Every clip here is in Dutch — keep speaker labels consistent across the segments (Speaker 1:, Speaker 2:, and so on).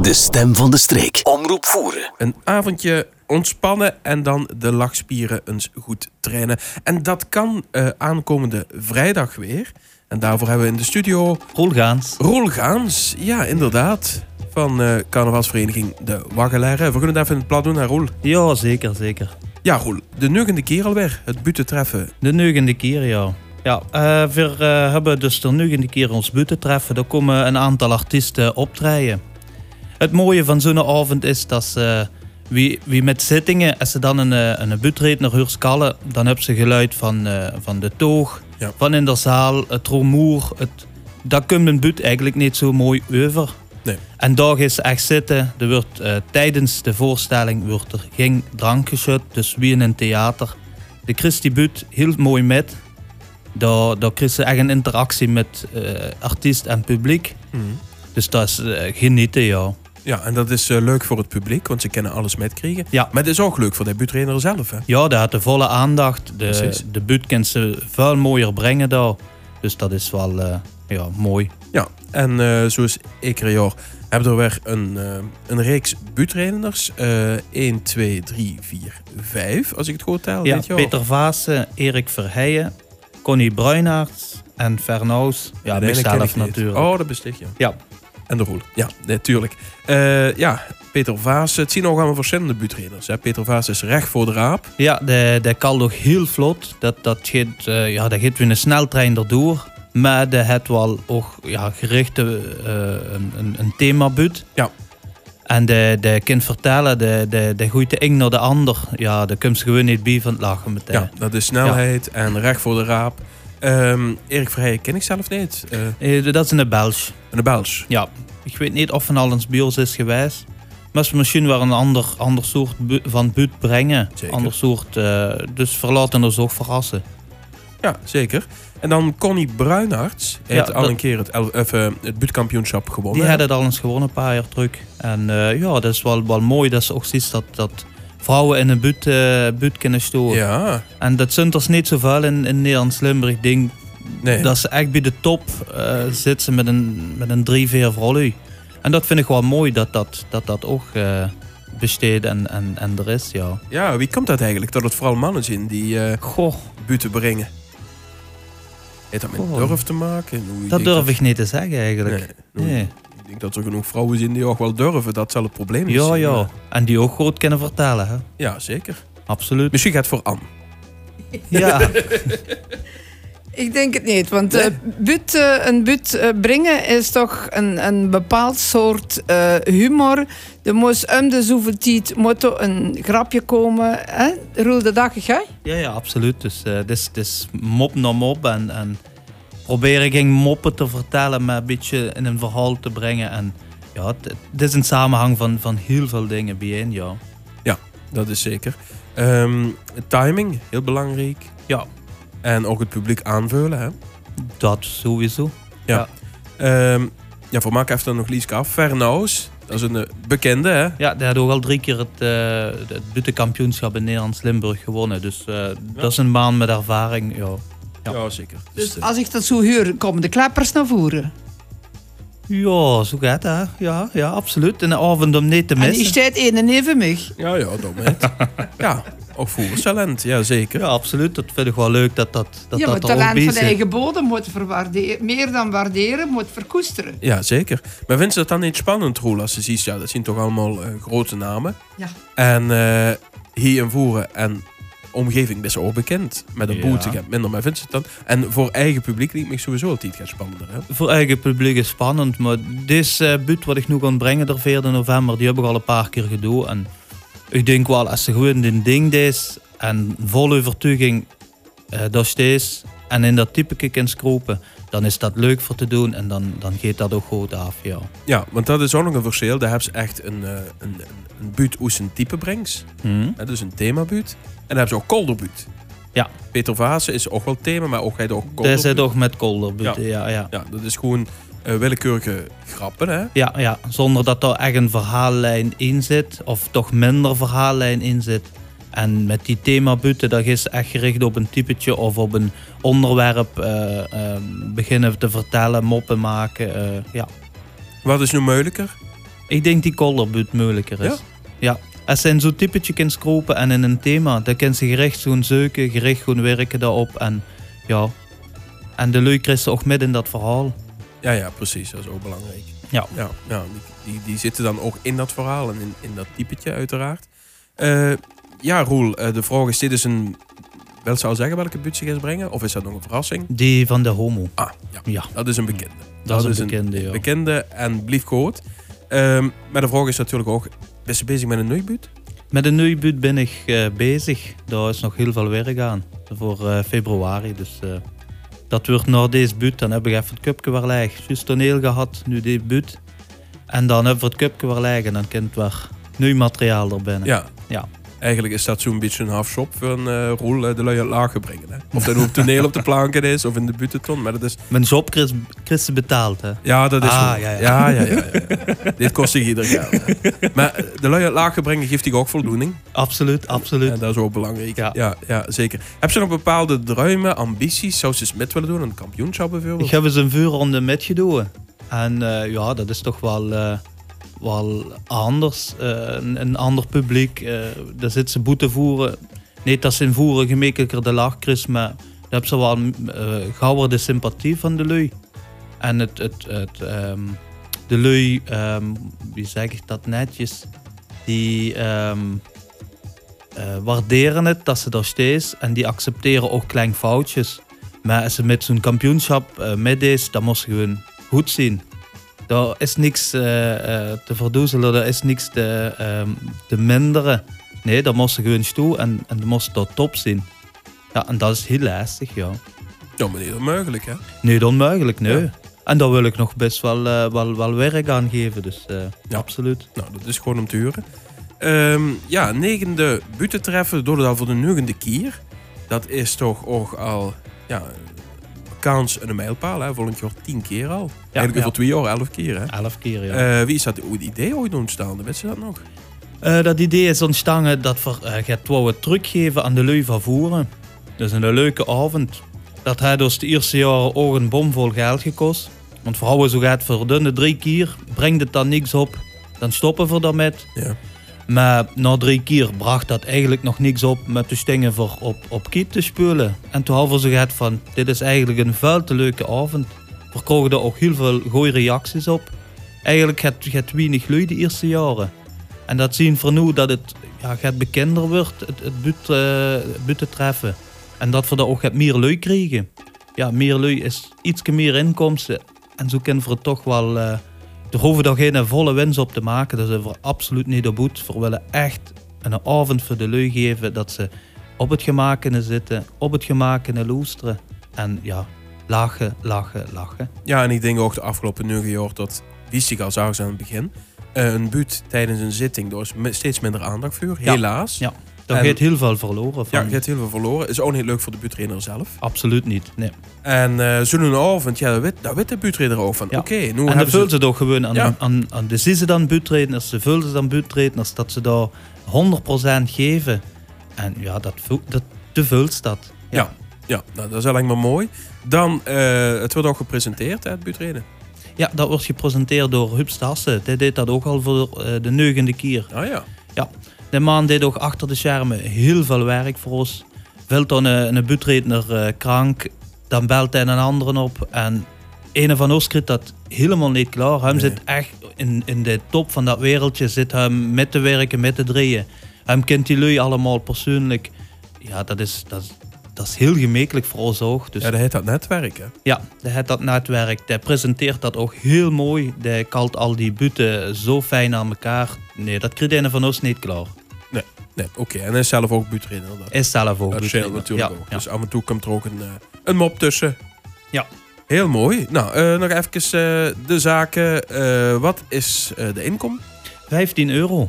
Speaker 1: De stem van de streek. Omroep voeren.
Speaker 2: Een avondje ontspannen en dan de lachspieren eens goed trainen. En dat kan eh, aankomende vrijdag weer. En daarvoor hebben we in de studio
Speaker 3: Rolgaans.
Speaker 2: Roel Gaans. Ja, inderdaad. Van eh carnavalsvereniging De Waggelerre. We kunnen daar even het plat doen naar Roel.
Speaker 3: Ja, zeker, zeker.
Speaker 2: Ja, Roel. De negende keer alweer. Het bute treffen.
Speaker 3: De negende keer, ja. Ja, eh, we eh, hebben dus de negende keer ons buurt treffen. Daar komen een aantal artiesten optreden. Het mooie van zo'n avond is dat ze, eh, wie, wie met zittingen, als ze dan een, eh, een buurt reed naar Hurskallen, dan hebben ze geluid van, eh, van de toog,
Speaker 2: Ja.
Speaker 3: van in de zaal, het rumoer. Het, dat komt een buurt eigenlijk niet zo mooi over.
Speaker 2: Nee.
Speaker 3: En daar is echt zitten. Er wordt, eh, tijdens de voorstelling wordt er geen drank geschud, dus wie in een theater. De Christie Buut hield mooi met. Daar, daar kreeg ze echt een interactie met eh, artiest en publiek. Dus dat is eh, genieten, ja.
Speaker 2: Ja, en dat is eh, leuk voor het publiek, want ze kennen alles metkrijgen.
Speaker 3: Ja.
Speaker 2: Maar het is ook leuk voor de buurtrainer zelf, hè?
Speaker 3: Ja, dat had de volle aandacht. De,
Speaker 2: Precies.
Speaker 3: de buurt kan ze veel mooier brengen daar. Dus dat is wel eh, ja, mooi.
Speaker 2: Ja, en eh, zoals ik jaar hebben er weer een, eh, een reeks buurtrainers. eh 1, 2, 3, 4, 5, als ik het goed tel.
Speaker 3: Ja,
Speaker 2: dit jaar.
Speaker 3: Peter Vaassen, Erik Verheijen, Connie Bruinaerts en Fernous. Ja,
Speaker 2: Nee, dat ken ik
Speaker 3: mezelf
Speaker 2: niet.
Speaker 3: natuurlijk.
Speaker 2: Oh, dat besticht je.
Speaker 3: Ja.
Speaker 2: En de Roel. Ja, natuurlijk. Eh, ja, Peter Vaas. Het zien ook allemaal verschillende buurtrainers. Hè. Peter Vaas is recht voor de raap.
Speaker 3: Ja, de- dat kan nog heel vlot. Dat, dat gaat, eh, ja, dat gaat weer een sneltrein erdoor. Maar dat heeft wel ook ja, gerichte eh, een, een, een themabuut.
Speaker 2: Ja.
Speaker 3: En de, de kind vertellen, de, de, de gooit de een naar de ander. Ja, daar komt ze gewoon niet bij van het lachen meteen.
Speaker 2: Ja, dat is snelheid en recht voor de raap. Ehm, Erik Verheijen ken ik zelf niet. Eh,
Speaker 3: Eh, dat is een Belge.
Speaker 2: en de Bels.
Speaker 3: Ja, ik weet niet of van al eens bij ons is geweest. Maar ze misschien wel een ander, ander soort bu- van buurt brengen.
Speaker 2: Zeker.
Speaker 3: Ander soort, eh, dus verlaten ons ook verrassen.
Speaker 2: Ja, zeker. En dan Connie Bruinarts heeft
Speaker 3: Ja,
Speaker 2: al
Speaker 3: dat-
Speaker 2: een keer het, el- of, eh, het buurtkampioenschap gewonnen.
Speaker 3: Die hadden het al eens gewonnen een paar jaar terug. En eh, ja, dat is wel, wel mooi dat ze ook ziet dat, dat vrouwen in een buurt, eh, buurt kunnen storen.
Speaker 2: Ja,
Speaker 3: En dat zijn er niet zoveel in, in Nederlands-Limburg. Ik denk
Speaker 2: nee.
Speaker 3: dat ze echt bij de top eh zitten met een, met een drie, vier volley. En dat vind ik wel mooi dat dat, dat, dat ook eh, besteedt en, en, en er is, ja.
Speaker 2: Ja, wie komt dat eigenlijk? Dat het vooral mannen zijn die eh
Speaker 3: Goh,
Speaker 2: buurten brengen. Heeft dat met
Speaker 3: Goh.
Speaker 2: durf te maken? Hoe je
Speaker 3: dat
Speaker 2: denkt
Speaker 3: durf ik niet te zeggen eigenlijk.
Speaker 2: Nee.
Speaker 3: nee.
Speaker 2: Ik denk dat er genoeg vrouwen zijn die ook wel durven. Dat zal het probleem niet
Speaker 3: Ja,
Speaker 2: zijn.
Speaker 3: ja. En die ook goed kunnen vertellen, hè.
Speaker 2: Ja, zeker.
Speaker 3: Absoluut.
Speaker 2: Misschien gaat het voor Anne.
Speaker 3: Ja.
Speaker 4: Ik denk het niet, want eh, buut, eh, een buut eh, brengen is toch een, een bepaald soort eh, humor. Er moest om de zoveel tijd moet er een grapje komen. Hè? Roel de dag, hè?
Speaker 3: Ja, ja, absoluut. Dus eh, het is het is mop na mop. En, en proberen geen moppen te vertellen, maar een beetje in een verhaal te brengen. En ja, het, het is een samenhang van, van heel veel dingen bijeen, ja.
Speaker 2: Dat is zeker. Ehm, timing, heel belangrijk.
Speaker 3: Ja,
Speaker 2: En ook het publiek aanvullen. Hè?
Speaker 3: dat sowieso.
Speaker 2: Ehm, ja, voor Mark heeft dan nog Lieske af. Fernous, dat is een eh, bekende. Hè?
Speaker 3: Ja, die had ook al drie keer het, eh het buitenkampioenschap in Nederlands-Limburg gewonnen. Dus eh, dat is een baan met ervaring, ja. Ja.
Speaker 2: zeker. Dus,
Speaker 4: Dus
Speaker 2: eh,
Speaker 4: als ik dat zo huur, komen de klappers naar voren.
Speaker 3: Ja, zo gaat dat. Ja, ja, absoluut. En de avond om niet te
Speaker 4: En die
Speaker 3: missen.
Speaker 4: staat een en even mij.
Speaker 2: ja, ja, dom heet. ja, ook voerstalent. Ja, zeker.
Speaker 3: Ja, absoluut. Dat vind ik wel leuk dat dat, dat,
Speaker 4: ja, maar
Speaker 3: dat er ook
Speaker 4: talent
Speaker 3: bij
Speaker 4: van
Speaker 3: zit.
Speaker 4: eigen bodem moet verwaarderen. Meer dan waarderen, moet verkoesteren.
Speaker 2: Ja, zeker. Maar vindt ze dat dan niet spannend, Roel, als ze ziet, ja, dat zijn toch allemaal eh, grote namen.
Speaker 4: Ja.
Speaker 2: En eh, hier in Voeren en omgeving best ook bekend. Met een
Speaker 3: Ja.
Speaker 2: boete gaat minder, maar vindt ze het dan... En voor eigen publiek lijkt me sowieso het niet gaat spannender, hè?
Speaker 3: Voor eigen publiek is spannend, maar deze eh, buurt wat ik nu kan brengen, de 4 november, die heb ik al een paar keer gedaan. En ik denk wel, als ze gewoon dit ding is en vol overtuiging eh daar steeds en in dat typeke kan skropen, dan is dat leuk voor te doen en dan, dan gaat dat ook goed af, ja.
Speaker 2: Ja, want dat is ook nog een verschil. Daar hebben ze echt een, eh, een, een, een buurt hoe ze een type brengt. Hè, dus een themabuurt. En dan hebben ze ook kolderbuurt.
Speaker 3: Ja.
Speaker 2: Peter Vaassen is ook wel thema, maar ook hij ook
Speaker 3: Daar
Speaker 2: kolderbuurt.
Speaker 3: zit toch met kolder, ja, ja.
Speaker 2: Ja, dat is gewoon eh, willekeurige grappen, hè?
Speaker 3: Ja, ja, zonder dat er echt een verhaallijn in zit, of toch minder verhaallijn in zit. En met die themabuten, dat is echt gericht op een typetje of op een onderwerp eh, eh, beginnen te vertellen, moppen maken. eh, ja.
Speaker 2: Wat is nu moeilijker?
Speaker 3: Ik denk die kolderbuut moeilijker is.
Speaker 2: Ja?
Speaker 3: Ja. Als ze in zo'n typetje kunt kropen en in een thema, dan kan ze gericht zo'n zeuken, gericht gewoon werken daarop. En ja, en de leuk is ze ook midden in dat verhaal.
Speaker 2: Ja, ja, precies. Dat is ook belangrijk.
Speaker 3: Ja.
Speaker 2: Ja, ja die, die, die zitten dan ook in dat verhaal en in, in dat typetje uiteraard. Eh, ja, Roel, eh, de vraag is, dit is een... Wel zou zeggen welke buurt ze gaat brengen? Of is dat nog een verrassing?
Speaker 3: Die van de homo.
Speaker 2: Ah, ja.
Speaker 3: Ja,
Speaker 2: Dat is een bekende.
Speaker 3: Hm, dat, is een bekende, ja.
Speaker 2: Bekende en blief gehoord. Ehm, maar de vraag is natuurlijk ook, is ze bezig met een neubuut?
Speaker 3: Met een nieuwe buurt ben ik eh, bezig. Daar is nog heel veel werk aan. Voor eh, februari. Dus eh, dat wordt na deze buurt. Dan heb ik even het cupje weer leeg. Juist toneel gehad, nu die buurt. En dan hebben we het cupje weer leeg. En dan komt weer nieuw materiaal er binnen.
Speaker 2: Ja.
Speaker 3: Ja.
Speaker 2: Eigenlijk is dat zo'n beetje een half-shop voor een eh, Roel eh, de lui uit Lagen brengen. Hè? Of dat nu op toneel op de planken is of in de butenton. Maar dat is...
Speaker 3: Mijn job Chris, Chris betaald, hè?
Speaker 2: Ja, dat is
Speaker 3: Ah,
Speaker 2: goed.
Speaker 3: ja, ja.
Speaker 2: Ja, ja, ja, ja, ja. Dit kost zich ieder jaar. hè. Maar eh, de lui uit Lagen brengen geeft die ook voldoening.
Speaker 3: Absoluut, absoluut.
Speaker 2: En dat is ook belangrijk. Ja.
Speaker 3: Ja.
Speaker 2: Ja, zeker. Heb ze nog bepaalde druimen, ambities? Zou ze eens met willen doen? Een kampioenschap bijvoorbeeld?
Speaker 3: Ik heb eens een vuurronde met gedaan. En eh, ja, dat is toch wel, eh, wel anders. Eh, een, een ander publiek. eh, daar zit ze boete voeren. Nee, dat zijn voeren gemakkelijker de lachkris, maar daar hebben ze wel eh gauwer de sympathie van de lui. En het, het, het, ehm, de lui, ehm, wie zeg ik dat netjes, die ehm, eh, waarderen het dat ze er steeds en die accepteren ook klein foutjes. Maar als ze met zo'n kampioenschap eh, met is, dan moet ze gewoon goed zien. Daar is niks eh, eh, te verdoezelen, daar is niks te, ehm, te minderen. Nee, daar moest ze gewoon stoel en, en dan moest ze daar top zien. Ja, en dat is heel lastig, ja.
Speaker 2: Ja, maar niet onmogelijk, hè?
Speaker 3: Niet onmogelijk, nee.
Speaker 2: Ja.
Speaker 3: En daar wil ik nog best wel, eh, wel, wel werk aan geven, dus eh,
Speaker 2: Ja.
Speaker 3: absoluut.
Speaker 2: Nou, dat is gewoon om te huren. Ehm, ja, negende buitentreffen door de al voor de negende keer. Dat is toch ook al ja, kans en een mijlpaal. Hè? Volgend jaar tien keer al. Eigenlijk
Speaker 3: ja.
Speaker 2: over twee jaar, elf keer. Hè?
Speaker 3: Elf keer, ja.
Speaker 2: Eh, wie is dat het idee ooit ontstaan? Weet ze dat nog?
Speaker 3: Eh, dat idee is ontstaan dat we eh, het wou het teruggeven aan de lui van voeren. Dat is een leuke avond. Dat heeft dus de eerste jaren ook een bomvol geld gekost. Want voor we zo gaat verdunnen drie keer, brengt het dan niks op, dan stoppen we daarmee.
Speaker 2: Ja.
Speaker 3: Maar na drie keer bracht dat eigenlijk nog niks op met de stingen voor op, op kiep te spelen. En toen hadden we zo gehad van, dit is eigenlijk een vuil te leuke avond. We kregen er ook heel veel goede reacties op. Eigenlijk het, het weinig lui de eerste jaren. En dat zien we nu dat het, ja, het bekender wordt, het, het buurt, eh, buurt te treffen. En dat we daar ook het meer lui krijgen. Ja, meer lui is iets meer inkomsten. En zo kunnen we het toch wel... eh er hoeven daar geen volle winst op te maken. Dat is we absoluut niet op boet. We willen echt een avond voor de lui geven dat ze op het gemakene zitten, op het gemakene loesteren. En ja, lachen, lachen, lachen.
Speaker 2: Ja, en ik denk ook de afgelopen negen jaar dat, wist ik al zelfs aan het begin, eh, een buurt tijdens een zitting, daar is me- steeds minder aandacht voor,
Speaker 3: Ja.
Speaker 2: helaas.
Speaker 3: Ja. Daar
Speaker 2: En-
Speaker 3: gaat heel veel verloren
Speaker 2: Ja,
Speaker 3: van.
Speaker 2: je hebt heel veel verloren. Is ook niet leuk voor de buurtrainer zelf.
Speaker 3: Absoluut niet. Nee.
Speaker 2: En eh zo'n avond, ja, daar weet, daar weet de buurtrainer ook van.
Speaker 3: Ja.
Speaker 2: Oké, nu
Speaker 3: En dat
Speaker 2: hebben
Speaker 3: vullen
Speaker 2: ze...
Speaker 3: ze toch gewoon aan,
Speaker 2: Ja.
Speaker 3: aan, aan de ze dan buurtredners, ze vullen ze dan buurtredners, dat ze daar 100% geven. En ja, dat, vul- dat, de vult dat.
Speaker 2: Ja. Ja, nou, dat is alleen maar mooi. Dan, eh, het wordt ook gepresenteerd, hè, het buurtrainen.
Speaker 3: Ja, dat wordt gepresenteerd door Huub Stassen. Die deed dat ook al voor eh, de neugende keer.
Speaker 2: Ah ja.
Speaker 3: De man deed ook achter de schermen heel veel werk voor ons. Wilt dan een, een buurtredner eh, krank, dan belt hij een andere op. En een van ons kreeg dat helemaal niet klaar. Hij
Speaker 2: Nee.
Speaker 3: zit echt in, in de top van dat wereldje. Zit hij met te werken, met te drieën. Hij kent die lui allemaal persoonlijk. Ja, dat is, dat, is- dat is heel gemakkelijk voor ons ook. Dus
Speaker 2: ja, dat heet dat netwerk, hè.
Speaker 3: ja, de het dat netwerk, die presenteert dat ook heel mooi. Die kalt al die buten zo fijn aan elkaar. Nee, dat kreeg een van ons niet klaar.
Speaker 2: Nee, oké. En hij is zelf ook buurtrainer. Dat,
Speaker 3: Is zelf ook.
Speaker 2: dat
Speaker 3: goed.
Speaker 2: scheelt natuurlijk
Speaker 3: ja,
Speaker 2: ook.
Speaker 3: ja.
Speaker 2: Dus af en toe komt er ook een, eh, een mop tussen.
Speaker 3: Ja.
Speaker 2: Heel mooi. Nou, eh, nog even eh, de zaken. Eh, wat is eh, de inkom?
Speaker 3: 15 euro.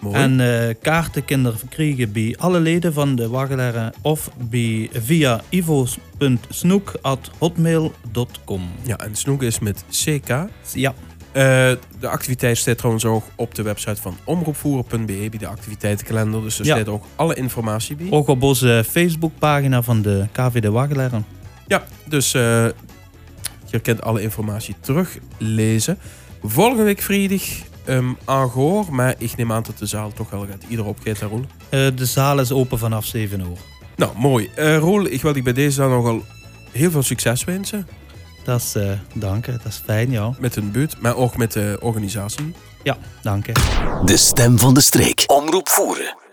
Speaker 2: Mooi.
Speaker 3: En eh, kaarten kinderen verkrijgen bij alle leden van de Waggelaren of bij, via ivo.snoek.hotmail.com.
Speaker 2: Ja, en Snoek is met CK.
Speaker 3: Ja,
Speaker 2: Eh, de activiteit staat trouwens ook op de website van omroepvoeren.be, E, bij de activiteitenkalender. Dus daar
Speaker 3: Ja.
Speaker 2: staat ook alle informatie bij.
Speaker 3: ook op onze Facebookpagina van de KV de Waggelaren.
Speaker 2: Ja, dus eh, je kunt alle informatie teruglezen. Volgende week vrijdag ehm aangehoor. Maar ik neem aan dat de zaal toch wel gaat. Ieder opgeet daar, Roel.
Speaker 3: Eh, de zaal is open vanaf 7 uur.
Speaker 2: Nou, mooi. Eh, Roel, ik wil je bij deze dan nogal heel veel succes wensen.
Speaker 3: Dat is, eh dank je, dat is fijn, ja.
Speaker 2: Met hun buurt, maar ook met de organisatie.
Speaker 3: Ja, dank je.
Speaker 1: De stem van de streek. Omroep Voeren.